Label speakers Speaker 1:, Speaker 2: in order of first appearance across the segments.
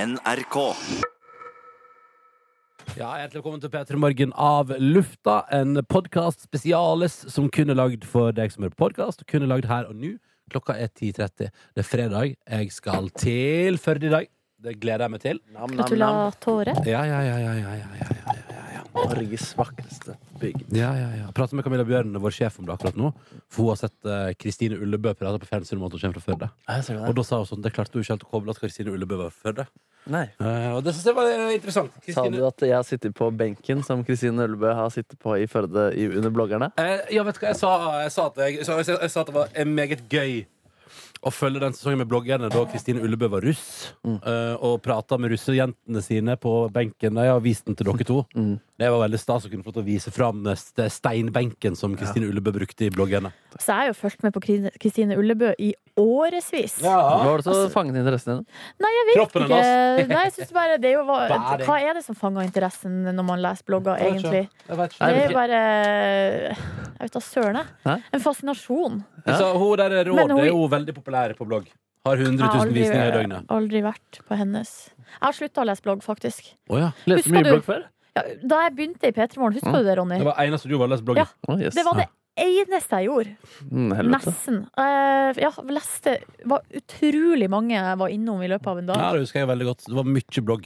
Speaker 1: NRK.
Speaker 2: Ja, Hjertelig velkommen til P3 Morgen av lufta. En podkast spesiales som kun er lagd for deg som hører podkast. Kun er lagd her og nå. Klokka er 10.30. Det er fredag. Jeg skal til Førde i dag. Det gleder jeg meg til.
Speaker 3: Gratulatore.
Speaker 2: Ja, ja, ja, ja, ja, ja, ja, ja, ja, ja.
Speaker 4: Norges vakreste bygd.
Speaker 2: Ja, ja, ja. Prater med Camilla Bjørn, vår sjef, om det akkurat nå. For hun har sett eh, Kristine Ullebø prate på fjernsyn om at hun kommer fra Førde. Og da sa hun sånn Det klarte hun ikke helt å koble at Kristine Ullebø var fra Førde.
Speaker 4: Nei.
Speaker 2: Eh, og det synes jeg var eh, interessant.
Speaker 4: Sa
Speaker 2: Kristine-
Speaker 4: du at jeg sitter på benken som Kristine Ølbø har sittet på i Førde i- under bloggerne?
Speaker 2: Eh, ja, vet du hva, jeg sa, jeg, sa at jeg, jeg, jeg, jeg sa at det var eh, meget gøy å følge den sesongen med bloggerne da Kristine Ullebø var russ, eh, og prata med russejentene sine på benken. Jeg har vist den til dere to. Det var veldig stas å kunne få lov til å vise fram ste- steinbenken som Kristine Ullebø brukte i bloggerne.
Speaker 3: Så jeg har jo fulgt med på Kri- Kristine Ullebø i årevis.
Speaker 4: Hva var det
Speaker 3: Altså,
Speaker 4: som fanget interessen din?
Speaker 3: Nei, jeg vet
Speaker 2: Kroppen
Speaker 3: ikke.
Speaker 2: hennes.
Speaker 3: Nei, jeg synes bare, det er jo, hva,
Speaker 2: Bæring.
Speaker 3: hva er det som fanger interessen når man leser blogger,
Speaker 2: Jeg vet ikke.
Speaker 3: egentlig?
Speaker 2: Jeg vet
Speaker 3: Det
Speaker 2: ikke.
Speaker 4: Nei,
Speaker 3: er
Speaker 4: men-
Speaker 3: jo bare Jeg vet da søren, jeg.
Speaker 4: Hæ?
Speaker 3: En fascinasjon.
Speaker 4: Ja.
Speaker 2: Så hun der er
Speaker 3: Men
Speaker 2: Råd
Speaker 3: hun-
Speaker 2: er jo veldig populær på blogg. Har 100
Speaker 3: Jeg har
Speaker 2: 000
Speaker 3: aldri,
Speaker 2: visninger i døgnet.
Speaker 3: aldri vært på hennes. Jeg har slutta å lese blogg, faktisk.
Speaker 2: Å ja.
Speaker 4: Leste
Speaker 3: Husker
Speaker 4: du mye
Speaker 3: du-
Speaker 4: blogg før?
Speaker 3: Ja, da jeg begynte i P3 Morgen, husker du det, Ronny?
Speaker 2: Mm. Det var eneste du gjorde, var å lese bloggen.
Speaker 3: Ja.
Speaker 4: Oh, yes.
Speaker 3: Det var det eneste jeg gjorde.
Speaker 4: Mm, helvete.
Speaker 3: Nesten. Eh, ja, leste var utrolig mange jeg var innom i løpet av en dag.
Speaker 2: Ja, det husker jeg veldig godt. Det var mye blogg.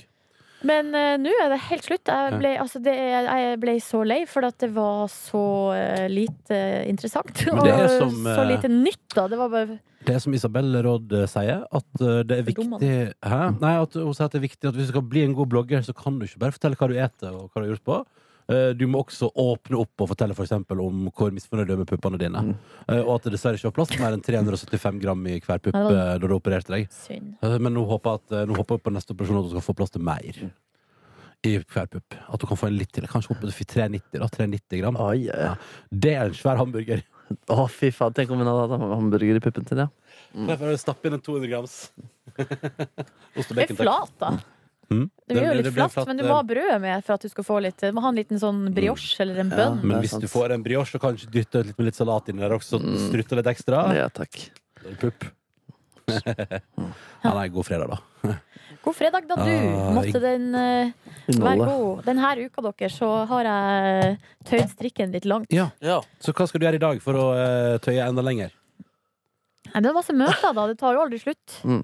Speaker 3: Men eh, nå er det helt slutt.
Speaker 2: Ja.
Speaker 3: Jeg ble, altså, det, er- jeg ble så lei, for at det var så eh, lite interessant.
Speaker 2: Men det er
Speaker 3: og
Speaker 2: som, eh,
Speaker 3: så lite nytt, da. Det var bare
Speaker 2: Det er som Isabel Råd eh, sier, at eh, det er
Speaker 3: Fordom,
Speaker 2: viktig Hæ? Nei, at hun sier at det er viktig at hvis du skal bli en god blogger, så kan du ikke bare fortelle hva du eter og hva du har gjort på. Eh, Du må også åpne opp og fortelle for eksempel om hvor misfornøyd du er med puppene dine. Eh, Og at det dessverre ikke var plass til mer enn 375 gram i hver pupp
Speaker 3: Nei, det
Speaker 2: eh,
Speaker 3: var-
Speaker 2: da du opererte deg.
Speaker 3: synd.
Speaker 2: Eh, Men nå håper jeg at, eh, nå håper jeg på neste operasjon at du skal få plass til mer i hver pupp. At du kan få en litt til. Kanskje opp til 390, da. 390 gram.
Speaker 4: Oi, oi, oi.
Speaker 2: Det er en svær hamburger.
Speaker 4: Å, fy faen. Tenk om hun hadde hatt hamburger i puppen sin, ja.
Speaker 2: Mm. Stapp inn en 200 grams. Ost og
Speaker 3: Det er flat, da.
Speaker 2: Mm.
Speaker 3: Det blir
Speaker 2: Det-
Speaker 3: jo
Speaker 2: det
Speaker 3: litt
Speaker 2: blir Mm. en
Speaker 3: flatt,
Speaker 2: flat,
Speaker 3: men du
Speaker 2: eh,
Speaker 3: må ha brødet med for at du skal få litt Du må ha en liten sånn brioche eller en bønn.
Speaker 4: Det
Speaker 2: Men
Speaker 4: er
Speaker 2: hvis
Speaker 4: sant.
Speaker 2: du får en brioche, så kan du dytte litt med litt salat inni der også.
Speaker 4: Mm.
Speaker 2: Strutte litt ekstra.
Speaker 4: Ja, takk.
Speaker 2: Da er det Pupp. ja, nei, god fredag, da.
Speaker 3: God fredag, da, du.
Speaker 2: Ah, jeg-
Speaker 3: Måtte den eh, være
Speaker 4: Innholdet.
Speaker 3: god. Denne uka, dere, så har jeg tøyd strikken litt langt.
Speaker 2: Ja. Så hva skal du gjøre i dag for å eh, tøye enda lenger?
Speaker 3: Nei, Det er masse møter, da. Det tar jo aldri slutt.
Speaker 4: Mm.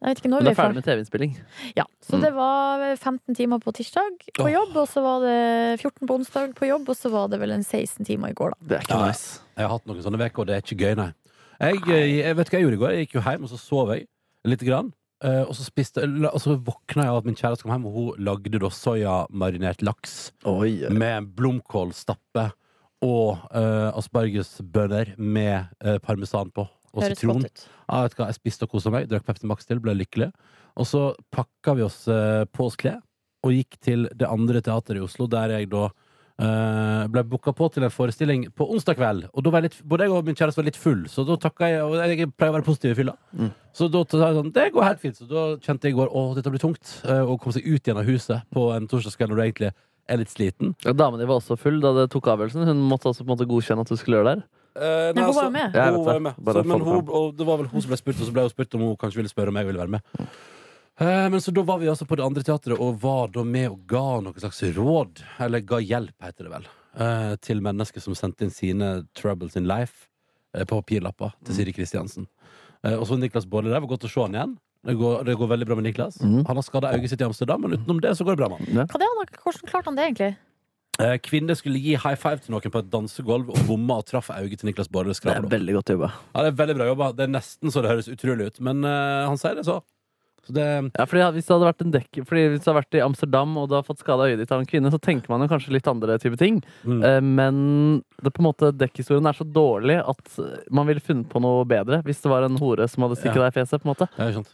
Speaker 3: Jeg vet ikke når
Speaker 4: Hun
Speaker 3: vi
Speaker 4: er
Speaker 3: er ferdig.
Speaker 4: ferdig med TV-innspilling.
Speaker 3: Ja, så det var 15 timer på tirsdag på
Speaker 2: Mm. Åh.
Speaker 3: jobb, og så var det 14 på onsdag på jobb, og så var det vel en 16 timer i går, da.
Speaker 4: Det er ikke
Speaker 2: Ja.
Speaker 4: nice.
Speaker 2: Jeg har hatt noen sånne uker, og det er ikke gøy, nei. Jeg, eh, jeg vet hva jeg gjorde i går. Jeg gikk jo hjem, og så sov jeg lite grann. Eh, og så spiste la- Og så våkna jeg av at min kjæreste kom hjem, og hun lagde da soyamarinert laks
Speaker 4: Oi, oi.
Speaker 2: med blomkålstappe og eh, aspargesbønner med eh, parmesan på. Og
Speaker 3: Høres
Speaker 2: sitron.
Speaker 3: godt ut.
Speaker 2: Ja, vet du hva, jeg spiste og koset meg, drakk Pepsi Max til, ble lykkelig. Og så pakka vi oss eh, på oss klær og gikk til det andre teateret i Oslo, der jeg da eh, ble booka på til en forestilling på onsdag kveld. Og da var jeg litt, både jeg og min kjæreste var litt full, så da takka jeg Og jeg pleier å være positiv i fylla.
Speaker 4: Mm.
Speaker 2: Så da sa jeg sånn Det går helt fint. Så da kjente jeg i går å, dette blir tungt. eh, Og kom seg ut igjen av huset på en torsdagskveld når du egentlig er litt sliten.
Speaker 4: Ja, Damen din var også full da det tok avgjørelsen. Hun måtte også på en måte godkjenne at du skulle gjøre det her.
Speaker 2: Eh,
Speaker 3: Nei, hun
Speaker 2: altså,
Speaker 3: var jo med.
Speaker 4: Ja, jeg
Speaker 2: hun
Speaker 4: vet
Speaker 2: var jo
Speaker 4: det.
Speaker 2: med.
Speaker 4: Bare
Speaker 2: Så,
Speaker 4: få
Speaker 2: men
Speaker 4: det
Speaker 2: hun, og det var vel hun som ble spurt, og så ble hun spurt om hun kanskje ville spørre om jeg ville være med. Eh, Men så da var vi altså på det andre teatret og var da med og ga noe slags råd, eller ga hjelp, heter det vel, eh, til mennesker som sendte inn sine troubles in life eh, på papirlapper
Speaker 4: Mm.
Speaker 2: til Siri Kristiansen. Eh, Og så Niklas Baarli der. Var godt å se han igjen. Det går, det går veldig bra med Niklas.
Speaker 4: Mhm.
Speaker 2: Han har skada øyet sitt i Amsterdam, men utenom det så går det bra med han.
Speaker 3: Hva det, han har- Hvordan klarte han det, egentlig?
Speaker 2: Eh, Kvinner skulle gi high five til noen på et dansegulv og bomma og traff øyet til Niklas Baarli. og
Speaker 4: Det
Speaker 2: skrapet
Speaker 4: er
Speaker 2: opp.
Speaker 4: veldig godt jobba.
Speaker 2: Ja, det er veldig bra jobba. Det er nesten så det høres utrolig ut, men eh, han sier det så. Så det
Speaker 4: Ja, fordi Hvis det hadde vært en dekk Fordi hvis det hadde vært i Amsterdam og du har fått skada øyet ditt av en kvinne, så tenker man jo kanskje litt andre type ting.
Speaker 2: Mm.
Speaker 4: Eh, Men det på en måte dekkhistorien er så dårlig at eh, man ville funnet på noe bedre hvis det var en hore som hadde stukket
Speaker 2: Ja.
Speaker 4: deg i fjeset. på en måte
Speaker 2: er skjønt.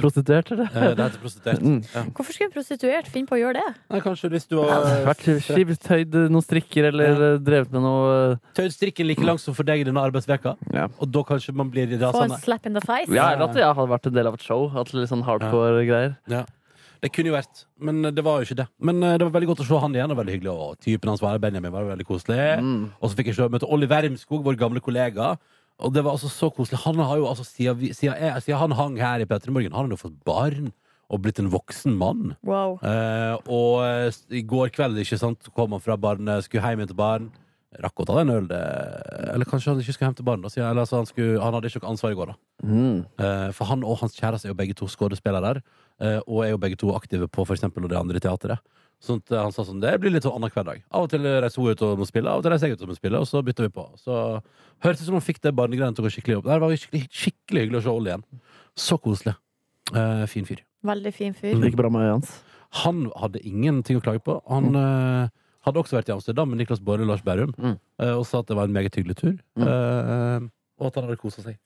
Speaker 2: Så-
Speaker 4: prostituert, eller?
Speaker 2: Eh, det heter prostituert.
Speaker 4: Mm.
Speaker 2: Ja.
Speaker 3: Hvorfor skulle en prostituert finne på å gjøre det?
Speaker 2: Nei, kanskje hvis du har eh,
Speaker 4: Vært skivt, tøyd noen strikker eller eh, drevet med noe eh,
Speaker 2: tøyd strikken like langt som for deg i denne arbeidsveka,
Speaker 4: Ja.
Speaker 2: og da kanskje man blir
Speaker 3: Få en
Speaker 2: rasende.
Speaker 3: slap in the face?
Speaker 4: Ja, eller at jeg hadde vært en del av et show. At litt sånn hardcore greier.
Speaker 2: Ja. Det kunne jo vært, men det var jo ikke det. Men eh, det var veldig godt å se han igjen, og veldig hyggelig. Og typen hans var her, Benjamin, var veldig koselig. Og så fikk jeg se møte Olli Wermskog, vår gamle kollega. Og det var altså så koselig. Han har jo altså, siden, vi, siden, jeg, siden han hang her i Petremorgen, har han jo fått barn. og blitt en voksen mann.
Speaker 3: Wow.
Speaker 2: Eh, og eh, s- i går kveld ikke sant, så kom han fra barnet, skulle hjem igjen til barn. Rakk å ta den øl, det. Eller kanskje han ikke skulle hjem til barn. Da. sier jeg. Eller, altså, han, skulle, han hadde ikke noe ansvar i går, da.
Speaker 4: Mm.
Speaker 2: Eh, For han og hans kjæreste er jo begge to skuespillere der, eh, og er jo begge to aktive på f.eks. det andre teatret. Sånn at han sa sånn, det blir litt sånn annenhver dag. Av og til reiser hun ut og må spille, av og til reiser jeg ut og må spille, og så bytter vi på. Så hørtes ut som han fikk det barnegreiene til å gå skikkelig opp. Det her var jo skikkelig, skikkelig hyggelig å se Olli igjen. Så koselig. Eh, fin fyr.
Speaker 3: Veldig fin
Speaker 4: Det
Speaker 2: Mm.
Speaker 3: fyr.
Speaker 4: gikk bra med øyet hans.
Speaker 2: Han hadde ingenting å klage på. Han eh, hadde også vært i Amsterdam med Niklas Baarli og Lars Berrum
Speaker 4: Mm.
Speaker 2: eh, og sa at det var en meget hyggelig tur, eh, og at han hadde kosa seg.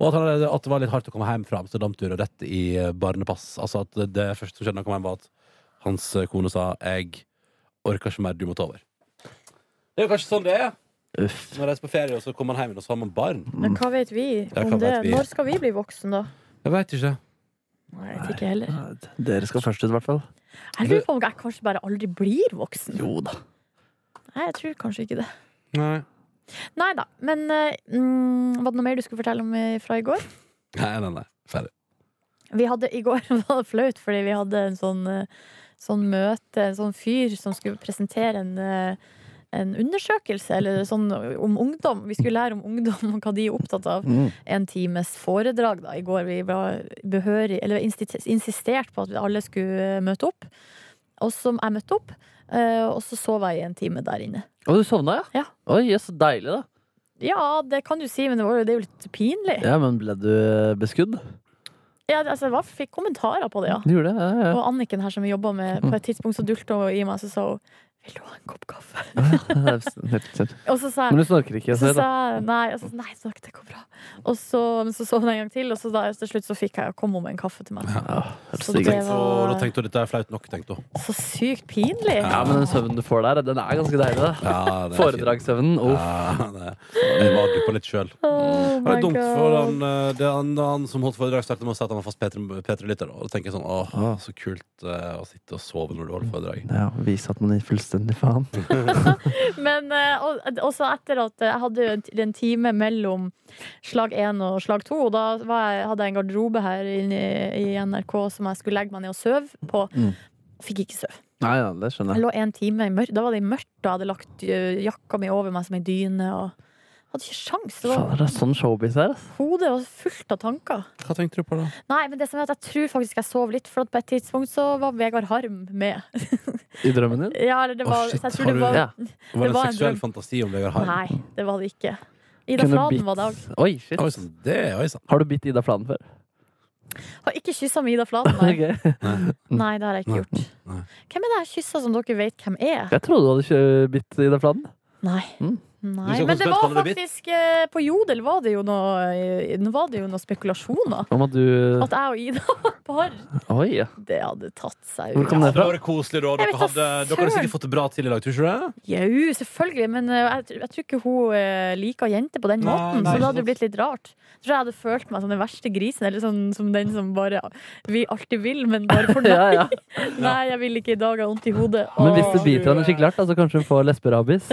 Speaker 2: Og at, han hadde, at det var litt hardt å komme hjem fra Amsterdam-tur og rett i eh, barnepass. Altså at det- Det første som skjedde da han kom hjem, var at hans eh, kone sa 'Jeg orker ikke mer, du må ta over'. Det er jo kanskje sånn det er.
Speaker 4: Uff.
Speaker 2: Når man reiser på ferie, og så kommer man hjem igjen, og så har man barn.
Speaker 3: Men hva vet vi
Speaker 2: Ja, hva
Speaker 3: om det?
Speaker 2: vet vi?
Speaker 3: Når skal vi bli voksen, da?
Speaker 2: Jeg veit ikke.
Speaker 3: Nei, jeg vet ikke heller.
Speaker 4: Dere skal først ut, i hvert fall.
Speaker 3: Jeg lurer på om jeg kanskje bare aldri blir voksen.
Speaker 4: Jo da.
Speaker 3: Nei, jeg tror kanskje ikke det.
Speaker 2: Nei.
Speaker 3: Nei da. Men eh, mm, var det noe mer du skulle fortelle om eh, fra i går?
Speaker 2: Nei, nei, nei. Ferdig.
Speaker 3: Vi hadde i går var det flaut, fordi vi hadde en sånn, eh, sånn møte, en sånn fyr som skulle presentere en, eh, en undersøkelse eller sånn om ungdom. Vi skulle lære om ungdom og hva de er opptatt av.
Speaker 4: Mm.
Speaker 3: En times foredrag da, i går. Vi var behørig, eller insti- insistert på at vi alle skulle eh, møte opp. Og som jeg møtte opp. eh, Og så sov jeg i en time der inne.
Speaker 4: Og du sovna,
Speaker 3: Ja.
Speaker 4: Oi, jøss, så deilig, da.
Speaker 3: Ja, det kan du si, men det, var, jo- det er jo litt pinlig.
Speaker 4: Ja, men ble du eh, beskudd?
Speaker 3: Ja, altså, jeg var- fikk kommentarer på det, ja.
Speaker 4: Du gjorde det? Ja, ja.
Speaker 3: Og Anniken her som vi jobba med, på et tidspunkt så dulta hun i meg, så sa hun Vil du ha en kopp kaffe?
Speaker 4: Det er snilt, snilt.
Speaker 3: Og så sa
Speaker 4: Men
Speaker 3: jeg
Speaker 4: du snorker ikke,
Speaker 3: så
Speaker 4: så
Speaker 3: sa jeg nei, og så, nei takk, det går bra. Og så, men så sov hun en gang til, og så da, til slutt så fikk jeg kom hun med en kaffe til meg.
Speaker 4: Ja, hørtes
Speaker 3: Så
Speaker 4: digg
Speaker 2: Og
Speaker 4: ut.
Speaker 3: det
Speaker 2: da
Speaker 3: var
Speaker 2: tenkte hun dette er flaut nok, tenkte hun.
Speaker 3: så sykt pinlig.
Speaker 4: Ja, men den søvnen du får der, den er ganske deilig, da.
Speaker 2: Ja, det er fint.
Speaker 4: Foredragssøvnen. Oh.
Speaker 2: Ja, det, det var du på litt sjøl.
Speaker 3: Oh
Speaker 2: Det
Speaker 3: my
Speaker 2: er dumt for
Speaker 3: God.
Speaker 2: han, eh, det er han, han som holdt foredrag, startet med å si at han var fast P3- P3-lytter. Og da tenker jeg sånn åh, så kult eh, å sitte og sove når du holder foredrag.
Speaker 4: Ja, Vise at man gir fullstendig faen.
Speaker 3: Men eh, og, også etter at jeg hadde jo en, en time mellom slag én og slag to, og da var jeg, hadde jeg en garderobe her inne i, i NRK som jeg skulle legge meg ned og sove på.
Speaker 4: Mm.
Speaker 3: Fikk ikke sove.
Speaker 4: Nei, ja, det skjønner
Speaker 3: Jeg
Speaker 4: jeg.
Speaker 3: lå en time i mørkt. Da var det i mørkt, og jeg hadde lagt ø, jakka mi over meg som ei dyne. Og hadde ikke sjans. Det
Speaker 4: Faen,
Speaker 3: var,
Speaker 4: det er sånn showbiz her, ass.
Speaker 3: hodet var fullt av tanker.
Speaker 2: Hva tenkte du på da?
Speaker 3: Nei, men det som er at jeg tror faktisk jeg sov litt, for at på et tidspunkt så var Vegard Harm med.
Speaker 4: I drømmen din.
Speaker 3: Ja, eller det
Speaker 2: Å,
Speaker 3: var,
Speaker 2: shit,
Speaker 3: så jeg
Speaker 2: har
Speaker 3: tror det
Speaker 2: du-
Speaker 3: var
Speaker 4: Ja.
Speaker 2: Var det
Speaker 3: Det
Speaker 2: en
Speaker 3: var en
Speaker 2: seksuell
Speaker 3: drøm.
Speaker 2: fantasi om Vegard Harm?
Speaker 3: Nei, det var det ikke. Ida Fladen var det òg.
Speaker 4: Oi, shit.
Speaker 2: Oi sann, det oi sann.
Speaker 4: Har du bitt Ida Fladen før?
Speaker 3: Har ikke kyssa med Ida Fladen, nei.
Speaker 4: Ok.
Speaker 3: nei. Det har jeg ikke
Speaker 2: Nei,
Speaker 3: gjort.
Speaker 2: nei.
Speaker 3: Hvem er det jeg kyssa som dere vet hvem er?
Speaker 4: Jeg trodde du hadde ikke bitt Ida Fladen.
Speaker 3: Nei.
Speaker 4: Mm.
Speaker 2: Du
Speaker 3: Nei.
Speaker 2: skal
Speaker 3: Men det var
Speaker 2: konsekvent kalle det bitt.
Speaker 3: faktisk eh, På Jodel var det jo noe, eh, var det jo noe spekulasjoner.
Speaker 4: Om at du
Speaker 3: At jeg og Ida var par.
Speaker 4: Oi, ja.
Speaker 3: Det hadde tatt seg
Speaker 4: Hvor
Speaker 3: ut.
Speaker 4: kom
Speaker 2: Ja,
Speaker 4: det
Speaker 2: det
Speaker 4: fra?
Speaker 2: var koselig, da.
Speaker 3: Jeg
Speaker 2: Dere
Speaker 3: vet da
Speaker 2: hadde, dere hadde
Speaker 3: søren.
Speaker 2: sikkert fått det bra til i dag, tror du ikke det?
Speaker 3: Jau, selvfølgelig, men eh, jeg, tr- jeg tror ikke hun eh, liker jenter på den
Speaker 2: Nei, nei,
Speaker 3: måten. så det hadde
Speaker 2: sant.
Speaker 3: jo blitt litt rart. Jeg tror jeg hadde følt meg som den verste grisen, eller sånn, som den som bare vi alltid vil, men bare for
Speaker 4: Ja,
Speaker 3: nei.
Speaker 4: ja.
Speaker 3: Nei, jeg vil ikke i dag, jeg har vondt i hodet.
Speaker 4: Men hvis du
Speaker 3: Åh.
Speaker 4: biter henne skikkelig hardt, da, så kanskje hun får lesberabis.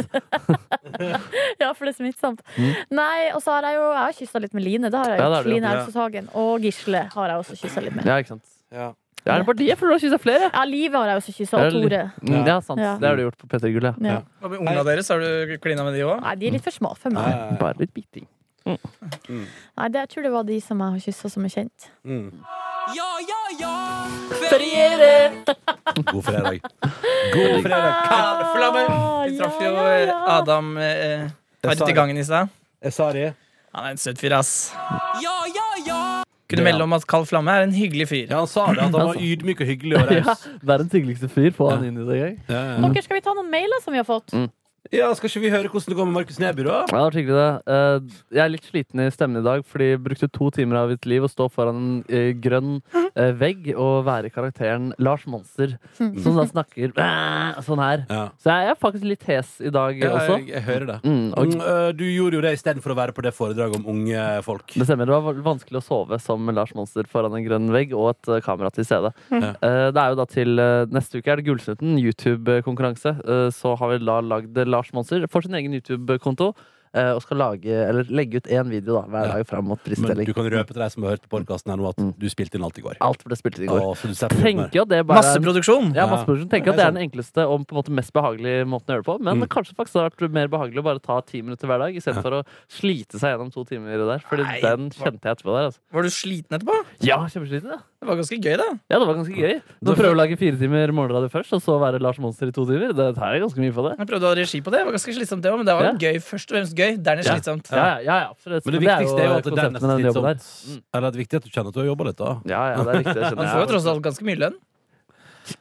Speaker 3: Ja, for det er smittsomt.
Speaker 4: Mm.
Speaker 3: Nei, og så har jeg jo Jeg har kyssa litt med Line. Det har jeg
Speaker 4: Ja, det
Speaker 3: gjort.
Speaker 4: har du gjort,
Speaker 3: Line
Speaker 2: ja.
Speaker 3: Haugstadhagen. Og Gisle har jeg også kyssa litt med.
Speaker 4: Ja, ikke sant.
Speaker 2: Ja.
Speaker 4: Ja, er det partiet? For du har kyssa flere.
Speaker 3: Ja, Livet har jeg også kyssa. Og
Speaker 4: Ja, det-
Speaker 3: Tore.
Speaker 4: Mm, Ja, sant.
Speaker 3: Ja.
Speaker 4: Det har du gjort på P3 Gull, ja.
Speaker 3: Ja.
Speaker 1: Hva med ungene deres? Har du klina med de òg?
Speaker 3: Nei, de er litt for små for meg.
Speaker 2: Nei,
Speaker 4: Bare litt biting.
Speaker 3: Nei, det, Jeg tror det var de som jeg har kyssa, som er kjent.
Speaker 2: Mm.
Speaker 3: Feriere!
Speaker 2: God fredag. God fredag.
Speaker 1: Vi traff jo eh, Adam eh,
Speaker 2: Jeg sa
Speaker 1: hardt i
Speaker 2: det.
Speaker 1: gangen i stad.
Speaker 2: Jeg sa det.
Speaker 1: Han er en søt fyr, ass. Kunne melde om at Kald Flamme er en hyggelig fyr.
Speaker 2: Ja, altså. han sa det. At han var ydmyk og hyggelig og
Speaker 4: Ja,
Speaker 2: raus.
Speaker 4: Verdens hyggeligste fyr på han inn i det gang.
Speaker 2: Ja, ja.
Speaker 3: Dere, skal vi ta noen mailer som vi har
Speaker 4: Mm.
Speaker 3: fått?
Speaker 2: Ja, skal ikke vi høre hvordan det går med Markus Neby, da?
Speaker 4: Ja, det var hyggelig det. Eh, Jeg er litt sliten i stemmen i dag, fordi jeg brukte to timer av mitt liv å stå foran en eh, grønn eh, vegg og være karakteren Lars Monster, som da snakker "Bæ!" sånn her.
Speaker 2: Ja.
Speaker 4: Så jeg er faktisk litt hes i dag også.
Speaker 2: jeg, jeg hører det.
Speaker 4: Mm, og
Speaker 2: Mm, øh, du gjorde jo det istedenfor å være på det foredraget om unge folk.
Speaker 4: det stemmer. Det var vanskelig å sove som Lars Monster foran en grønn vegg og et eh, kamera til stede.
Speaker 2: Ja.
Speaker 4: Eh, Det er jo da til eh, neste uke er det Gullsnutten, YouTube-konkurranse. Eh, Så har vi da lagd Lars Monster for sin egen YouTube-konto. eh, og skal lage, eller legge ut én video da, hver
Speaker 2: Ja.
Speaker 4: dag fram mot
Speaker 2: Men
Speaker 4: prisutdeling.
Speaker 2: du kan røpe til deg som har hørt på podkasten her nå, at du spilte inn alt i går.
Speaker 4: Alt ble spilt inn Mm. i går.
Speaker 2: Å, så du setter opp med.
Speaker 4: Tenker jo at det bare er en-
Speaker 1: Masseproduksjon!
Speaker 2: Ja.
Speaker 4: ja, masseproduksjon. Tenker at
Speaker 2: Det
Speaker 4: det
Speaker 2: er
Speaker 4: er den enkleste og på en måte mest behagelige måten å gjøre det på. Men
Speaker 2: Mm.
Speaker 4: kanskje faktisk hadde vært mer behagelig å bare ta ti minutter hver dag istedenfor for å slite seg gjennom to timer der. Fordi
Speaker 1: Nei,
Speaker 4: den
Speaker 1: hva-
Speaker 4: kjente jeg etterpå der. Altså.
Speaker 1: Var du sliten etterpå?
Speaker 4: Ja, kjempesliten, ja.
Speaker 1: Det var ganske gøy, da.
Speaker 4: Ja, det var ganske gøy. Nå prøver å lage fire timer morgenradio først, og så være Lars Monster i to timer. Det tar jeg ganske mye for det.
Speaker 1: Jeg prøvde å ha regi på det. Det var ganske slitsomt, det òg. Men det var
Speaker 4: Ja.
Speaker 1: gøy først og fremst gøy. Dernest
Speaker 4: Ja.
Speaker 1: slitsomt.
Speaker 4: Ja, ja, ja, ja, absolutt.
Speaker 2: Men det viktigste er jo at sånn. det er
Speaker 4: konseptet
Speaker 2: nesten
Speaker 4: med den jobben
Speaker 2: slitsomt. Eller det er viktig at du kjenner at du har jobba litt, da.
Speaker 4: der. Ja, ja, det er riktig. Det skjønner
Speaker 1: Han får jo
Speaker 4: jeg.
Speaker 1: tross alt ganske mye lønn.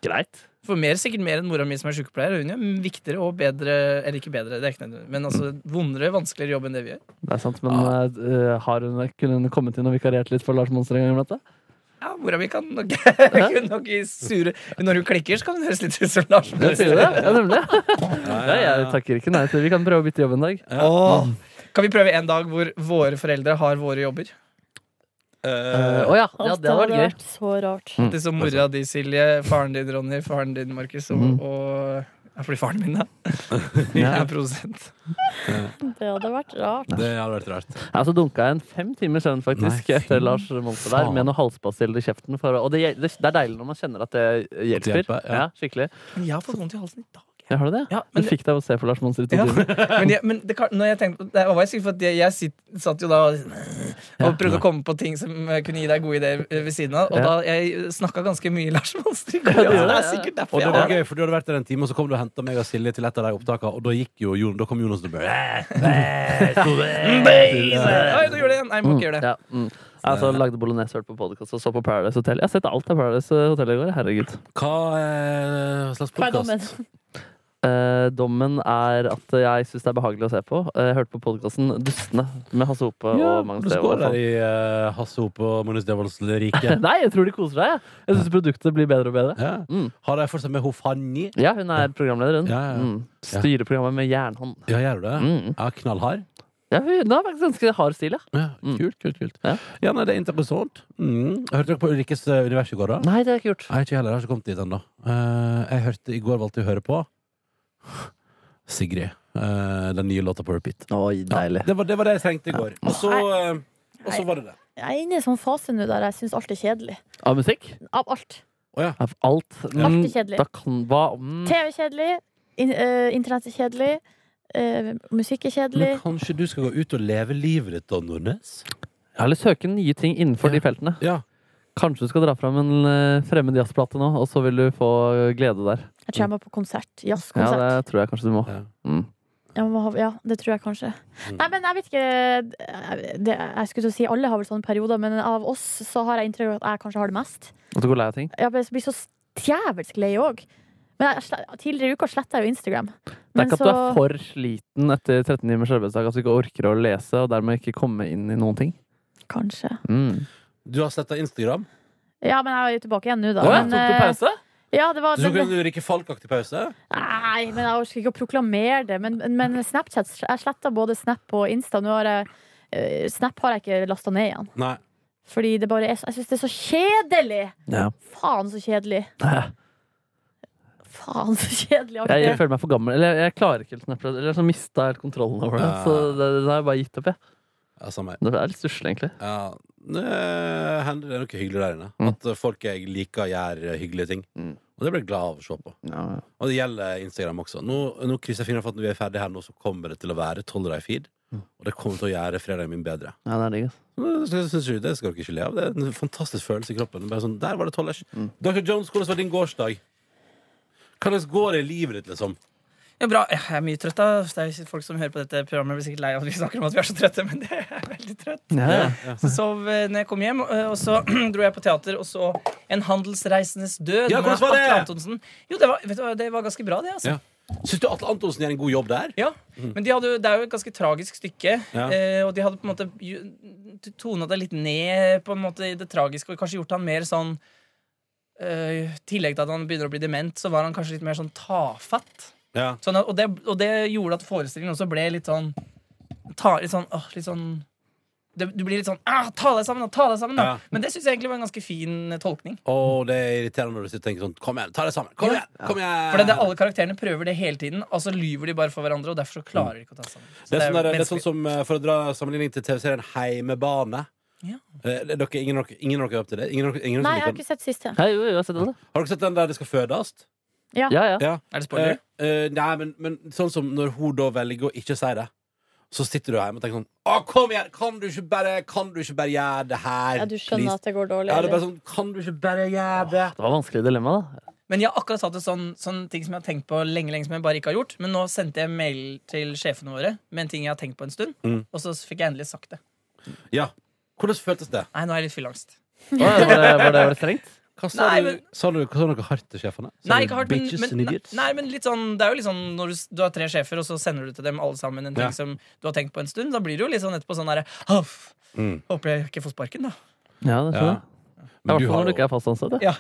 Speaker 4: Greit.
Speaker 1: For mer, sikkert mer enn mora mi som er sykepleier. og Hun gjør viktigere og bedre Eller ikke bedre, det er ikke nødvendig, men altså vondere, vanskeligere jobb enn det vi gjør.
Speaker 4: Det er sant, men eh, har hun, kunne hun kommet inn og vikariert litt for Lars Monster en gang iblant? da?
Speaker 1: Ja, mora mi kan nok, kunne nok i sure Når hun klikker, så kan hun høres litt ut som Lars.
Speaker 4: Det sier du det? Ja, nemlig. Ja, jeg
Speaker 2: ja.
Speaker 4: takker ikke nei til Vi kan prøve å bytte jobb en dag.
Speaker 1: Eh, Åh. Kan vi prøve en dag hvor våre foreldre har våre jobber?
Speaker 4: Eh, Å ja. ja, det hadde vært gøy.
Speaker 3: vært så rart.
Speaker 1: Det er som mora di, Silje, faren din, Ronny, faren din, Markus, og, og ja, fordi faren min, da. Jeg
Speaker 4: Ja.
Speaker 1: er produsent.
Speaker 3: Det hadde vært rart.
Speaker 2: eh, Det hadde vært rart.
Speaker 4: Ja, så dunka jeg en fem timer søvn faktisk
Speaker 2: Nei,
Speaker 4: etter
Speaker 2: fy
Speaker 4: Lars Monster der,
Speaker 2: faen.
Speaker 4: med noe halspastiller i kjeften. For, å- og det, det er deilig når man kjenner at det hjelper.
Speaker 2: hjelper, ja.
Speaker 4: ja. skikkelig.
Speaker 1: Men jeg har fått vondt i halsen i dag.
Speaker 4: Ja, har du det?
Speaker 1: Ja, men
Speaker 4: Du fikk deg å se på Lars Monster i to
Speaker 1: Ja.
Speaker 4: timer.
Speaker 1: Men, jeg, men det, kan- når jeg tenkte Det var jeg sikker for at jeg, jeg sitt, satt jo da og, og prøvde å komme på ting som eh, kunne gi deg gode ideer eh, ved siden av. Og da
Speaker 4: Ja.
Speaker 1: jeg snakka ganske mye Lars Monster i går.
Speaker 4: det gjør
Speaker 1: altså, det
Speaker 4: det,
Speaker 1: er
Speaker 4: ja.
Speaker 1: sikkert
Speaker 2: Og
Speaker 1: derfor
Speaker 2: det
Speaker 1: jeg
Speaker 2: var
Speaker 1: har det.
Speaker 2: gøy, for du hadde vært der en time, og så kom du og henta meg og Silje til et av de opptakene, og da gikk jo Jon, da kom Jonas og bare "Eh,
Speaker 1: Oi, nå gjorde det igjen. Nei, må ikke gjøre
Speaker 4: Ja,
Speaker 1: det.
Speaker 4: mm. Altså, lagde bolognese, hørte på podkast og så på Paradise Hotel. Jeg har sett alt av Paradise Hotel i går. Herregud.
Speaker 2: Hva eh, slags
Speaker 3: Hva er dommen?
Speaker 2: podkast?
Speaker 4: Eh, dommen er at jeg syns det er behagelig å se på. Eh, Jeg hørte på podkasten Dustene med Hasse Hope og
Speaker 2: Du
Speaker 4: Magnus
Speaker 2: står
Speaker 4: Devold.
Speaker 2: der i eh, Hasse Hope og Magnus Devolds rike.
Speaker 4: Nei, jeg tror de koser seg. jeg. Jeg syns produktet blir bedre og bedre.
Speaker 2: Ja.
Speaker 4: Mm.
Speaker 2: Har de fortsatt med Hofani?
Speaker 4: Ja, hun er programleder, hun.
Speaker 2: Ja, ja, ja.
Speaker 4: Mm. Styrer programmet med jernhånd.
Speaker 2: Ja, gjør du det?
Speaker 4: Mm.
Speaker 2: Ja, knallhard?
Speaker 4: Ja, hun har faktisk ganske hard stil, ja.
Speaker 2: Ja, kult, kult, kult.
Speaker 4: Ja.
Speaker 2: Ja, nei, det er interessant. Mm. Hørte dere på Ulrikkes eh, univers i går, da?
Speaker 4: Nei, det har jeg ikke gjort.
Speaker 2: Nei, ikke heller. Jeg har ikke kommet dit ennå. Eh, jeg hørte i går valgte jeg å høre på Sigrid. eh, den nye låta på repeat.
Speaker 4: Oi, deilig.
Speaker 2: Det var, det var det jeg trengte i går. Og så, eh, og så var det det.
Speaker 3: Jeg er inne i en sånn fase nå der jeg syns alt er kjedelig.
Speaker 4: Av musikk?
Speaker 3: Av alt.
Speaker 2: Å ja.
Speaker 4: Av alt.
Speaker 3: Alt er kjedelig.
Speaker 4: Da kan, hva, mm.
Speaker 3: TV er kjedelig. In eh, internett er kjedelig. eh, musikk er kjedelig.
Speaker 2: Men kanskje du skal gå ut og leve livet ditt, da, Nordnes?
Speaker 4: Eller søke nye ting innenfor
Speaker 2: Ja.
Speaker 4: de feltene.
Speaker 2: Ja.
Speaker 4: Kanskje du skal dra fram en eh, fremmed jazzplate nå, og så vil du få glede der.
Speaker 3: Jeg tror jeg må på konsert.
Speaker 4: Ja,
Speaker 3: Jazzkonsert.
Speaker 4: det tror jeg kanskje du må.
Speaker 2: Ja.
Speaker 4: Mm.
Speaker 3: Jeg må ha- Ja, det tror jeg kanskje. Nei, men jeg vet ikke det, Jeg skulle til å si alle har vel sånne perioder, men av oss så har jeg inntrykk av at jeg kanskje har det mest.
Speaker 4: At du går lei av ting.
Speaker 3: Jeg blir- blir så djevelsk lei òg. Men jeg, sle- tidligere i uka sletta jeg jo Instagram.
Speaker 4: Det er
Speaker 3: Men
Speaker 4: ikke at du
Speaker 3: så,
Speaker 4: er for sliten etter 13 timers arbeidsdag at du ikke orker å lese, og dermed ikke komme inn i noen ting.
Speaker 3: Kanskje.
Speaker 4: Mm.
Speaker 2: Du har sletta Instagram?
Speaker 3: Ja, men jeg er jo tilbake igjen nå, da.
Speaker 4: Å ja,
Speaker 3: men,
Speaker 4: tok du
Speaker 3: eh,
Speaker 4: pause?
Speaker 3: Ja, det var
Speaker 2: Du tok en Ulrikke Falk-aktig pause?
Speaker 3: Nei, men jeg orker ikke å proklamere det. Men, men Snapchat Jeg sletta både Snap og Insta. Nå har jeg, eh, Snap har jeg ikke lasta ned igjen.
Speaker 2: Nei.
Speaker 3: Fordi det bare er så- Jeg syns det er så kjedelig!
Speaker 4: Ja.
Speaker 3: Faen, så kjedelig. Faen, så kjedelig. Jeg
Speaker 4: Jeg,
Speaker 3: orker
Speaker 4: jeg føler meg for gammel. Eller jeg klarer ikke helt Snapchat. Eller jeg har sånn mista helt kontrollen over det.
Speaker 2: Ja.
Speaker 4: Så det, det har jeg bare gitt opp, jeg.
Speaker 2: Ja, samme her.
Speaker 4: Det er litt stusslig, egentlig.
Speaker 2: Ja. Det hender det er noe hyggelig der inne.
Speaker 4: Mm.
Speaker 2: At eh, folk jeg liker, gjør eh, hyggelige ting.
Speaker 4: Mm.
Speaker 2: Og det blir jeg glad av å se på. Og det gjelder Instagram også. Nå, nå krysser jeg fingrene for at når vi er ferdige her nå, så kommer det til å være 12 deg feed.
Speaker 4: Mm.
Speaker 2: Og det kommer til å gjøre fredagen min bedre.
Speaker 4: Ja, det er digg, ass.
Speaker 2: Men Det synes jeg- det skal dere ikke le av. Det er en fantastisk følelse i kroppen. Det er Bare sånn, der var det 12 deg.
Speaker 4: Mm.
Speaker 2: Dr. Jones, hvordan var din gårsdag? Hvordan går det i livet ditt, liksom?
Speaker 1: Ja, bra. Jeg er mye trøtt. da Det er jo folk som hører på dette programmet, blir sikkert lei av at vi snakker om at vi er så trøtte, men jeg er veldig trøtt. Så sov eh, når jeg kom hjem, eh, og så dro jeg på teater og så En handelsreisendes død
Speaker 2: Ja, hvordan
Speaker 1: med
Speaker 2: var det?
Speaker 1: Atle Antonsen. Jo, det var, vet du, hva, det var ganske bra, det, altså.
Speaker 2: Ja. Syns du Atle Antonsen gjør en god jobb der?
Speaker 1: Ja, men de hadde, jo- det er jo et ganske tragisk stykke.
Speaker 2: Ja.
Speaker 1: Eh, og de hadde på en måte ju- tona det litt ned på en måte i det tragiske og kanskje gjort han mer sånn eh, I tillegg til at han begynner å bli dement, så var han kanskje litt mer sånn tafatt.
Speaker 2: Ja.
Speaker 1: Sånn at, og, det, og det gjorde at forestillingen også ble litt sånn ta, Litt sånn, åh, litt sånn det, du blir litt sånn ah, Ta deg sammen, da! Ta deg sammen, da!
Speaker 2: Ja.
Speaker 1: Men det syns jeg egentlig var en ganske fin eh, tolkning.
Speaker 2: Å, det er irriterende når du sitter og tenker sånn Kom igjen, ta det sammen! Kom
Speaker 1: Ja.
Speaker 2: igjen! Kom igjen!
Speaker 1: For det er det alle karakterene prøver det hele tiden, og så lyver de bare for hverandre, og derfor så klarer de ikke å ta seg sammen. Så
Speaker 2: Det er, sånn der, det er
Speaker 1: vanskelig.
Speaker 2: sånn som, eh, For å dra sammenligning til TV-serien Heimebane.
Speaker 1: Ja.
Speaker 2: Eh, det- Dere, ingen, av dere, ingen av dere er opp til det? Ingen, av dere- ingen, av dere
Speaker 3: Nei, jeg
Speaker 2: som
Speaker 3: har
Speaker 2: liker den.
Speaker 3: ikke sett siste.
Speaker 4: Hei, jo, jo, jeg har sett den, da.
Speaker 2: har dere sett den der det skal fødes?
Speaker 4: Ja, ja.
Speaker 1: Er det spoiler?
Speaker 2: Eh, eh, nei, men, men sånn som når hun da velger å ikke si det, så sitter du hjemme og tenker sånn Å, kom igjen! Kan du ikke bare Kan du ikke bare gjøre det her?
Speaker 3: Ja, du skjønner at det går dårlig?
Speaker 2: ja, det er
Speaker 3: eller?
Speaker 2: bare sånn, Kan du ikke bare gjøre det?
Speaker 4: Det var vanskelig dilemma, da.
Speaker 1: Men jeg har akkurat hatt en sånn, sånn ting som jeg har tenkt på lenge, lenge som jeg bare ikke har gjort. Men nå sendte jeg mail til sjefene våre med en ting jeg har tenkt på en stund.
Speaker 2: Mm.
Speaker 1: Og så fikk jeg endelig sagt det.
Speaker 2: Ja. Hvordan føltes det?
Speaker 1: Nei, nå har jeg litt fyllangst.
Speaker 4: Å, ja, Var det, var det, var det strengt?
Speaker 2: Hva sa,
Speaker 1: Nei,
Speaker 2: du,
Speaker 1: men-
Speaker 2: sa du? Hva sa dere hardt til sjefene? Sa
Speaker 1: Nei,
Speaker 2: du
Speaker 1: ikke hardt, men,
Speaker 2: bitches and
Speaker 1: men, nei,
Speaker 2: idiots?
Speaker 1: nei, men litt sånn, det er jo litt sånn når du, s- du har tre sjefer, og så sender du til dem alle sammen en ting
Speaker 2: Ja.
Speaker 1: som du har tenkt på en stund. Da blir det jo litt sånn etterpå sånn derre «Huff,
Speaker 2: Mm.
Speaker 1: Håper jeg ikke får sparken, da.
Speaker 4: Ja, det tror
Speaker 2: Ja.
Speaker 4: jeg. Det er i
Speaker 2: du
Speaker 4: hvert fall
Speaker 2: har
Speaker 4: når du
Speaker 2: jo-
Speaker 4: ikke er fast ansatt.
Speaker 1: Ja.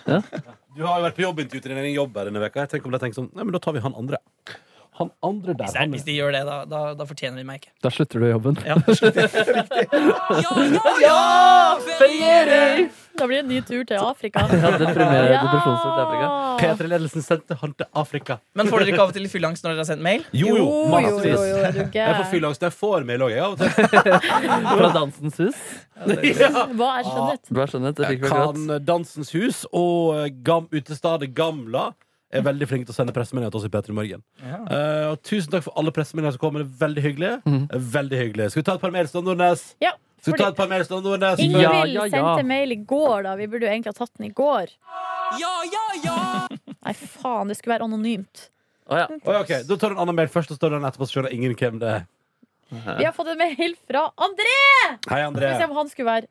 Speaker 2: Du har jo vært på jobbintervju til din egen jobb her denne veka. Jeg tenker om de tenker sånn, nei, men da tar vi han andre. Han andre der.
Speaker 1: Hvis, det er, hvis de gjør det, da, da, da fortjener de meg ikke.
Speaker 4: Da slutter du i jobben.
Speaker 1: Ja, ja, ja, ja! Feriere!
Speaker 3: Da blir det en ny tur til Afrika.
Speaker 4: Ja, deprimerer depresjonsfullt i Afrika.
Speaker 2: P3-ledelsen sendte han til Afrika.
Speaker 1: Men får dere ikke av og til litt fyllangst når dere har sendt mail?
Speaker 2: Jo, jo,
Speaker 3: jo, jo,
Speaker 2: massevis.
Speaker 3: jo, er du
Speaker 2: Jeg får
Speaker 3: gæren.
Speaker 2: fyllangst. Jeg får mail òg, jeg, av og til.
Speaker 4: Fra Dansens Hus.
Speaker 3: Hva er skjønnhet?
Speaker 4: Bra skjønnhet. Det fikk vi akkurat.
Speaker 2: Kan Dansens Hus og eh, gam, utestedet Gamla er veldig flinke til å sende pressemeldinger til oss i P3 Morgen.
Speaker 1: Ja.
Speaker 2: Eh, og tusen takk for alle pressemeldinger som kommer. Det er Veldig hyggelig. Veldig hyggelig. Skal vi ta et par mer, Ståle Nordnes?
Speaker 3: Ja,
Speaker 2: Skal vi ta et par mer, Ståle Nordnes?
Speaker 4: Ingen- Ja,
Speaker 3: Ingvild
Speaker 4: ja, ja.
Speaker 3: sendte mail i går, da. Vi burde jo egentlig ha tatt den i går.
Speaker 1: Ja, ja, ja!
Speaker 3: Nei, faen, det skulle være anonymt.
Speaker 4: Å, ja.
Speaker 2: Oi, ok, Da tar du en annen mail først, og så står den etterpå, så skjønner ingen hvem det er.
Speaker 3: Vi har fått en mail fra André!
Speaker 2: Hei, André.
Speaker 3: Skal vi se om han skulle være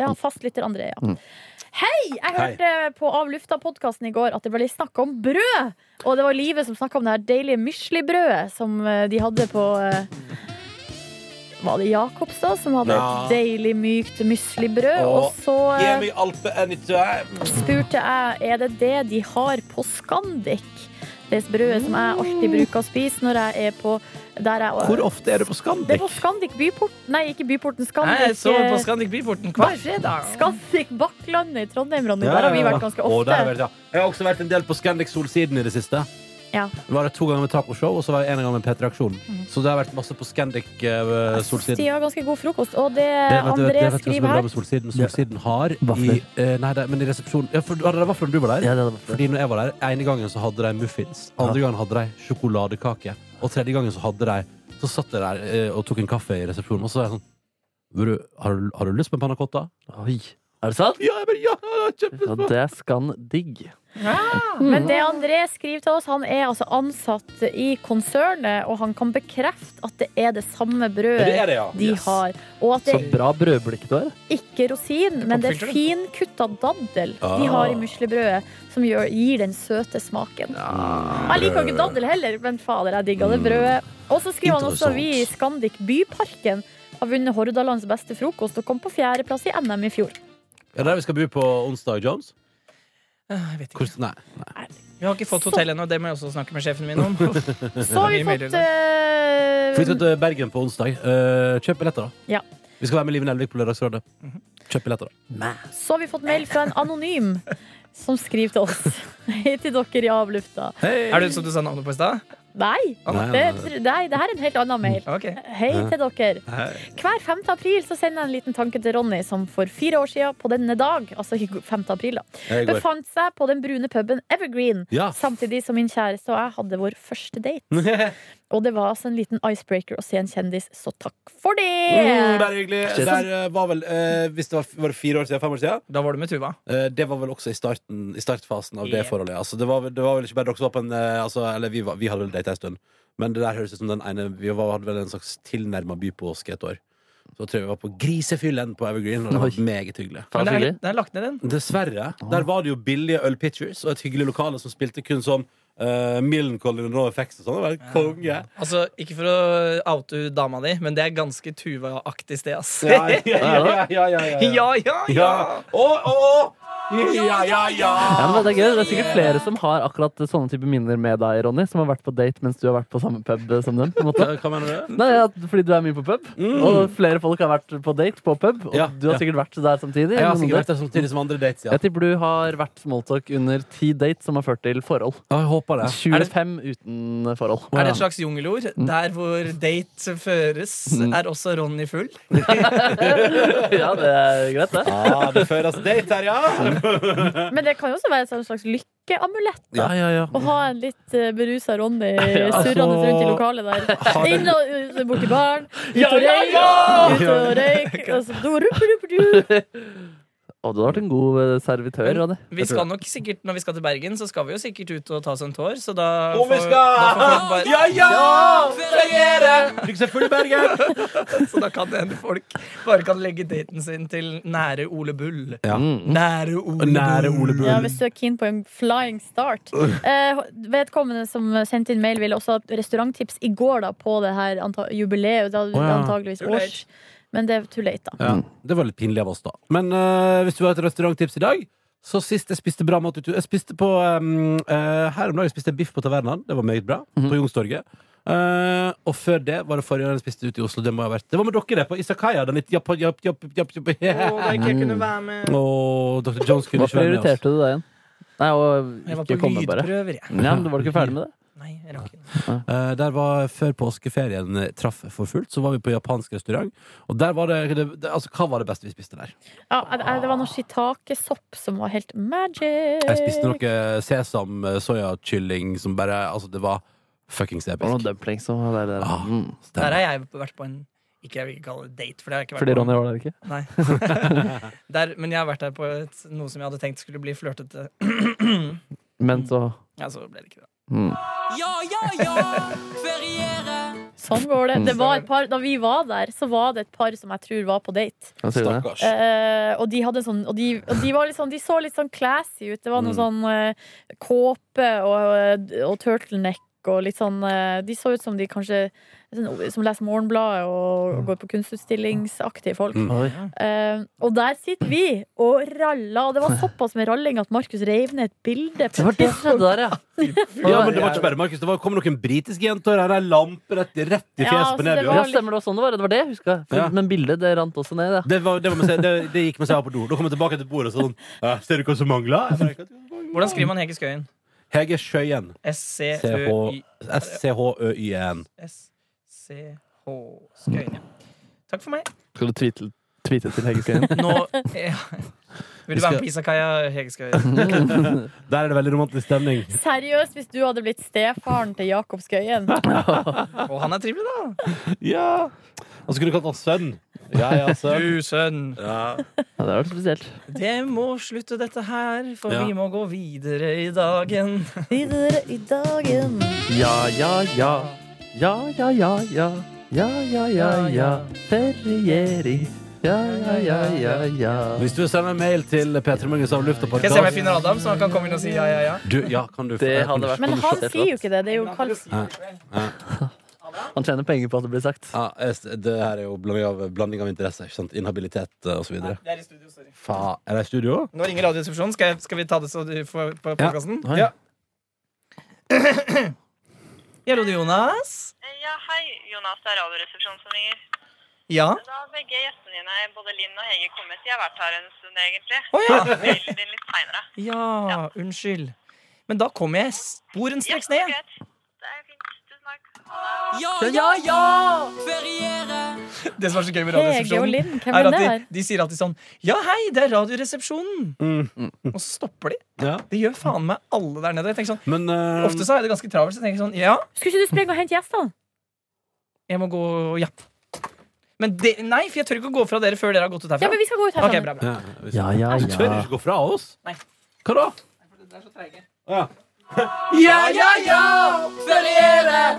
Speaker 3: ja, fastlytter André, ja. Hei! Jeg
Speaker 2: Hei.
Speaker 3: hørte på Av lufta-podkasten i går at det ble litt snakk om brød. Og det var Live som snakka om det her deilige Mysli-brødet som eh, de hadde på eh, Var det Jacobstad som hadde
Speaker 2: Ja.
Speaker 3: et deilig, mykt Mysli-brød?
Speaker 2: Å,
Speaker 3: Og så eh,
Speaker 2: Gi meg Alpe anytime.
Speaker 3: spurte jeg er det det de har på Scandic. Det brødet som jeg alltid bruker å spise når jeg er på der jeg
Speaker 2: Hvor ofte er du på Scandic?
Speaker 3: Det er på Scandic Byport. Nei, ikke Byporten.
Speaker 1: Nei, jeg
Speaker 3: Scandic,
Speaker 1: så på
Speaker 3: eh,
Speaker 1: Scandic Byporten hver fredag.
Speaker 3: Scandic Bakklandet i Trondheim, Ronny.
Speaker 2: Ja,
Speaker 3: Der har vi
Speaker 2: ja, ja.
Speaker 3: vært ganske
Speaker 2: Å, der har vi vært,
Speaker 3: ofte.
Speaker 2: ja. Jeg har også vært en del på Scandic Solsiden i det siste.
Speaker 3: Ja.
Speaker 2: Det var det to ganger med tacoshow, og så var jeg en gang med Peter Aksjon.
Speaker 3: Mhm.
Speaker 2: Så det har vært masse på Scandic eh, Solsiden.
Speaker 3: De har ganske god frokost. Og det,
Speaker 2: Det vet du- det
Speaker 3: André
Speaker 2: vet du hva som
Speaker 3: skriver
Speaker 2: er bra
Speaker 3: her
Speaker 2: med Solsiden. Solsiden har i,
Speaker 4: Vafler.
Speaker 2: eh, Nei, det, men i resepsjonen ja, for, Det var fordi du var der.
Speaker 4: Ja, det hadde vært flott.
Speaker 2: Fordi når jeg var der, ene gangen så hadde de muffins, andre gangen hadde de sjokoladekake, og tredje gangen så hadde de Så satt jeg der eh, og tok en kaffe i resepsjonen, og så var jeg sånn "Bro, har du, har du lyst på en panna cotta?
Speaker 4: Oi. Er det sant?
Speaker 2: Ja, jeg bare, ja, ja, kjempe-
Speaker 4: Ja, det er skandigg.
Speaker 3: Men det André skriver til oss, han er altså ansatt i konsernet, og han kan bekrefte at det er det samme
Speaker 2: Ja, det
Speaker 3: brødet
Speaker 2: er det, ja.
Speaker 3: de har. Og at
Speaker 4: Så
Speaker 3: det
Speaker 4: bra brødblikk du har.
Speaker 3: ikke rosin, men det er
Speaker 1: Oppfylte det.
Speaker 3: finkutta daddel de
Speaker 2: Ah.
Speaker 3: har i muslibrødet, som gjør, gir den søte smaken. Mm. Jeg liker jo ikke daddel heller, men fader, jeg digga det brødet. Og så skriver han også
Speaker 2: Mm. Interessant.
Speaker 3: vi i Skandik Byparken har vunnet Hordalands beste frokost og kom på fjerdeplass i NM i fjor.
Speaker 2: Er det der vi skal bo på onsdag, Jones?
Speaker 1: Ah, Jeg vet ikke.
Speaker 2: Hvor, nei.
Speaker 1: Vi har ikke fått hotell ennå, det må jeg også snakke med sjefen min om.
Speaker 3: Så har vi
Speaker 1: Mye mailer i
Speaker 3: fått eh,
Speaker 2: For vi skal til Bergen på onsdag. Eh, kjøp billetter, da.
Speaker 3: Ja.
Speaker 2: Vi skal være med Liven Elvik på Lørdagsrådet. Kjøp billetter, da.
Speaker 3: Så har vi fått mail fra en anonym som skriver til oss. Hei til dere i avlufta.
Speaker 1: Er det som du sa navnet på i stad?
Speaker 3: Nei,
Speaker 2: Nei,
Speaker 3: det,
Speaker 2: nei,
Speaker 3: nei, det her er en helt annen mail.
Speaker 1: Ok.
Speaker 3: Hei til dere.
Speaker 2: Hei.
Speaker 3: Hver 5. april så sender jeg en liten tanke til Ronny, som for fire år siden på denne dag, altså i 5. april, da,
Speaker 2: Jeg går.
Speaker 3: befant seg på den brune puben Evergreen.
Speaker 2: Ja.
Speaker 3: Samtidig som min kjæreste og jeg hadde vår første date. Og det var altså en liten icebreaker å se en kjendis, så takk for
Speaker 2: Mm,
Speaker 3: det!
Speaker 2: bare hyggelig.
Speaker 4: Shit.
Speaker 2: Der eh, var vel eh, Hvis det var, var det fire år siden, fem år siden,
Speaker 1: Da var du med Tuva.
Speaker 2: eh, det var vel også i, starten, i startfasen av det
Speaker 1: Yeah.
Speaker 2: forholdet. Altså, det, var, vel- det var vel ikke bare dere som var på en eh, altså, Eller vi, var, vi hadde vel data en stund, men det der høres ut som den ene Vi var, hadde vel en slags tilnærma bypåske et år. Så tror jeg vi var på grisefyllen på Evergreen, og det var
Speaker 4: Oi.
Speaker 2: meget hyggelig.
Speaker 1: Men
Speaker 4: Faen,
Speaker 1: det er,
Speaker 4: hyggelig.
Speaker 1: det er lagt ned, den.
Speaker 2: Dessverre. Der var det jo billige øl pitchers og et hyggelig lokale som spilte kun sånn uh, Millencolin og Effects og sånn. Det var helt konge.
Speaker 1: Altså, Ikke for å oute dama di, men det er ganske Tuva-aktig sted, ass.
Speaker 2: Ja, ja, ja. ja, ja, ja, ja.
Speaker 1: Ja, ja, ja!
Speaker 2: Ja. Å, å, å! Ja, ja, ja!
Speaker 4: Ja, men det er gøy. Det er sikkert flere som har akkurat sånne type minner med deg, Ronny, som har vært på date mens du har vært på samme pub som dem. på en måte.
Speaker 2: Eh, Hva mener du?
Speaker 4: Nei, ja, Fordi du er mye på pub, og flere folk har vært på date på pub. Og
Speaker 2: Ja,
Speaker 4: du har
Speaker 2: ja.
Speaker 4: sikkert vært der samtidig.
Speaker 2: Jeg har
Speaker 4: Noen
Speaker 2: sikkert vært
Speaker 4: date.
Speaker 2: der samtidig som andre dates, ja.
Speaker 4: Jeg tipper du har vært smalltalk under ti dates som har ført til forhold.
Speaker 2: Ja, Jeg håper det.
Speaker 1: Er det-
Speaker 4: 25 uten forhold.
Speaker 1: Er det et slags jungelord? Der hvor date føres,
Speaker 4: Mm.
Speaker 1: er også Ronny full?
Speaker 4: Ja, det er greit, det.
Speaker 2: Ah, det føres date her, ja!
Speaker 3: Men det kan jo også være et slags lykkeamulett.
Speaker 2: Ja, ja, ja.
Speaker 3: Å ha en litt uh, berusa Ronny
Speaker 4: altså-
Speaker 3: surrende rundt i lokalet
Speaker 2: Har
Speaker 3: der.
Speaker 2: den-
Speaker 3: Inn og ut, bort til baren, ut
Speaker 4: Ja,
Speaker 3: og
Speaker 4: ja,
Speaker 3: røyk, ut og røyk. og så do, rup, rup, rup.
Speaker 4: Og du har vært en god eh, servitør, Ronny.
Speaker 1: Vi
Speaker 2: Jeg tror
Speaker 1: skal nok sikkert, Når vi skal til Bergen, så skal vi jo sikkert ut og ta oss en tår, så da
Speaker 2: Om vi
Speaker 1: får-
Speaker 2: skal!
Speaker 1: da får folk bare-
Speaker 2: Ja, ja!
Speaker 1: Feriere!
Speaker 2: Lykke til full i Bergen!
Speaker 1: Så da kan det hende folk bare kan legge daten sin til nære Ole Bull.
Speaker 2: Ja.
Speaker 4: Mm.
Speaker 1: Nære Ole
Speaker 2: Nære
Speaker 1: Bull.
Speaker 2: Ole Bull.
Speaker 3: Ja, hvis du er keen på en flying start. Eh, vedkommende som sendte inn mail, ville også ha restauranttips i går da, på det her anta jubileet. Da,
Speaker 2: ja.
Speaker 3: Antageligvis
Speaker 1: Too late.
Speaker 3: års. Men det er too late, da.
Speaker 2: Ja, det var litt pinlig av oss, da. Men eh, hvis du har et restauranttips i dag så Sist jeg spiste bra mat ute Jeg spiste på um, eh, Her om dagen spiste jeg biff på tavernaen. Det var meget bra. På Youngstorget. Eh, og før det var det forrige gang jeg spiste ute i Oslo. Det må ha vært Det var med dere, det, på Isakaya. Den litt japp, japp, japp, japp, japp.
Speaker 1: Å, da ikke jeg
Speaker 4: Mm.
Speaker 1: kunne være med.
Speaker 2: Og Dr. Jones kunne
Speaker 4: Hva
Speaker 2: ikke være med oss.
Speaker 4: prioriterte du deg igjen? Nei,
Speaker 1: Jeg
Speaker 4: og
Speaker 1: var
Speaker 4: ikke
Speaker 1: på
Speaker 4: komme, bare.
Speaker 1: lydprøver, jeg.
Speaker 4: Ja, men du var ikke ferdig med det?
Speaker 1: Nei, jeg rakk ikke.
Speaker 2: Eh, der var Før påskeferien eh, traff for fullt, så var vi på japansk restaurant. Og der var det, det, det Altså, hva var det beste vi spiste der?
Speaker 3: Ja, eh, det var noe shiitake-sopp som var helt magic.
Speaker 2: Jeg spiste noe sesam eh, soyakylling som bare Altså, det var fuckings
Speaker 4: Det var noen
Speaker 2: episk.
Speaker 4: dumplings som var der. der.
Speaker 2: Ah,
Speaker 4: Mm.
Speaker 1: Der har jeg vært på en ikke jeg vil ikke kalle det date, for det har jeg ikke vært
Speaker 4: Fordi
Speaker 1: på.
Speaker 4: Ronny var der ikke?
Speaker 1: Nei. der, men jeg har vært der på et, noe som jeg hadde tenkt skulle bli flørtete.
Speaker 4: Men så
Speaker 1: Ja, så ble det ikke det.
Speaker 4: mm.
Speaker 3: Sånn går det. det
Speaker 2: Mm.
Speaker 3: var et par, da vi var der, så var det et par som jeg tror var på date.
Speaker 4: Hva sier du det?
Speaker 2: Stakkars.
Speaker 3: Eh, og de hadde sånn Og de, og de, var litt sånn, de så litt sånn classy ut. Det var noe sånn eh, kåpe og, eh, og turtleneck. Og litt sånn, eh, de så ut som de kanskje sånn, Som leser Morgenbladet og, og går på kunstutstillingsaktige folk.
Speaker 2: Mm.
Speaker 4: Oi.
Speaker 3: Eh, og der sitter vi og raller. Og det var såpass med ralling at Markus reiv ned et bilde.
Speaker 4: Det
Speaker 3: På
Speaker 4: var det som skjedde der, ja.
Speaker 2: Ja, men det
Speaker 4: eh,
Speaker 2: var ikke bare Markus. Det var, kom noen britiske jenter og ei lampe rett, rett i
Speaker 3: Ja,
Speaker 2: fjeset
Speaker 3: altså,
Speaker 2: på
Speaker 3: det
Speaker 2: Nebjørn.
Speaker 4: Ja, stemmer det var sånn det var. Det var det jeg huska.
Speaker 2: Ja.
Speaker 4: Men bildet det rant også ned. Ja.
Speaker 2: Det, var, det, var med seg, det, det gikk mens jeg var på do. Da kom jeg tilbake til bordet og sånn «Eh, Ser du hva som mangler?
Speaker 1: Hvordan skriver man Hege Skøyen?
Speaker 2: Hege Skøyen.
Speaker 1: Eh, S-C-Ø-Y
Speaker 2: S-C-H-Ø-Y-N.
Speaker 1: S-C-H Skøyen, ja. Takk for meg.
Speaker 4: Skal du tweete, tweete til Hege Skøyen?
Speaker 1: Nå ja. Vil
Speaker 2: Vi
Speaker 1: du være
Speaker 2: skal-
Speaker 1: med på Isakaya, Hege Skøyen?
Speaker 2: Der er det veldig romantisk stemning.
Speaker 3: Seriøst, hvis du hadde blitt stefaren til Jakob Skøyen
Speaker 1: Og han er trivelig, da.
Speaker 2: Ja. Og så kunne du kalt han sønn. Ja, ja, sønn.
Speaker 1: Du sønn.
Speaker 2: Ja.
Speaker 4: Ja, det var spesielt.
Speaker 1: Det må slutte dette her, for
Speaker 2: Ja.
Speaker 1: vi må gå videre i dagen.
Speaker 3: videre i dagen.
Speaker 4: Ja, ja, ja. Ja, ja, ja, ja. Ja, ja, ja, ja. Feriering. Ja, ja, ja, ja, ja.
Speaker 2: Hvis du vil sende en mail til P3 Morgens av luft og
Speaker 1: Skal jeg se om jeg
Speaker 2: podcast
Speaker 1: finner Adam, så han kan komme inn og si ja, ja, ja?
Speaker 2: du, ja, kan du,
Speaker 4: Det hadde vært
Speaker 3: Men
Speaker 4: kan du
Speaker 3: han
Speaker 4: slå det
Speaker 3: sier
Speaker 4: flat?
Speaker 3: jo ikke det. Det er jo Karls
Speaker 4: Han tjener penger på at det blir sagt.
Speaker 2: ja, es- Det her er jo blanding av, blanding av interesser. Ikke sant? Inhabilitet eh, og så videre.
Speaker 1: Det er i studio, sorry.
Speaker 2: Faen. Er det i studio?
Speaker 1: Nå ringer Radioresepsjonen. Skal, jeg- skal vi ta det så du får på podkasten?
Speaker 4: Oi.
Speaker 1: Ja, Rode Jonas?
Speaker 5: Eh, Ja, hei, Jonas. Det er Radioresepsjonen som ringer.
Speaker 1: Ja?
Speaker 5: Da har begge gjestene dine, både Linn og Hege, kommet. De har vært her en stund, egentlig.
Speaker 1: Å ja.
Speaker 5: Mailen din litt seinere.
Speaker 1: ja! Unnskyld. Men da kom jeg sporenstreks ned.
Speaker 5: greit. Det er fint. Tusen takk. Ha det.
Speaker 1: Det som er så gøy med
Speaker 3: Hege og
Speaker 1: Radioresepsjonen,
Speaker 3: Linn. Hvem
Speaker 1: er
Speaker 3: er
Speaker 1: at
Speaker 3: det
Speaker 1: de,
Speaker 3: her?
Speaker 1: de sier alltid sånn Ja, hei, det er Radioresepsjonen!
Speaker 3: Mm.
Speaker 1: Og så stopper de.
Speaker 2: Ja.
Speaker 1: Det gjør faen meg alle der nede. Jeg tenker sånn,
Speaker 2: Men
Speaker 3: Mm.
Speaker 2: eh,
Speaker 1: Ofte så er det ganske travelt, så jeg tenker sånn Ja,
Speaker 3: Skulle ikke du springe og hente gjestene?
Speaker 1: jeg må gå og japp. Men det, nei, for jeg tør ikke å gå fra dere før dere har gått ut herfra.
Speaker 3: Ja, men vi skal gå ut
Speaker 1: Ok,
Speaker 3: herfra.
Speaker 1: bra, bra.
Speaker 2: ja, hvis-
Speaker 4: Ja, ja,
Speaker 2: Du tør
Speaker 4: ja.
Speaker 2: ikke gå fra oss?
Speaker 1: Nei.
Speaker 2: Hva da?
Speaker 1: Det er så treige.
Speaker 2: Ja. ja, ja, ja!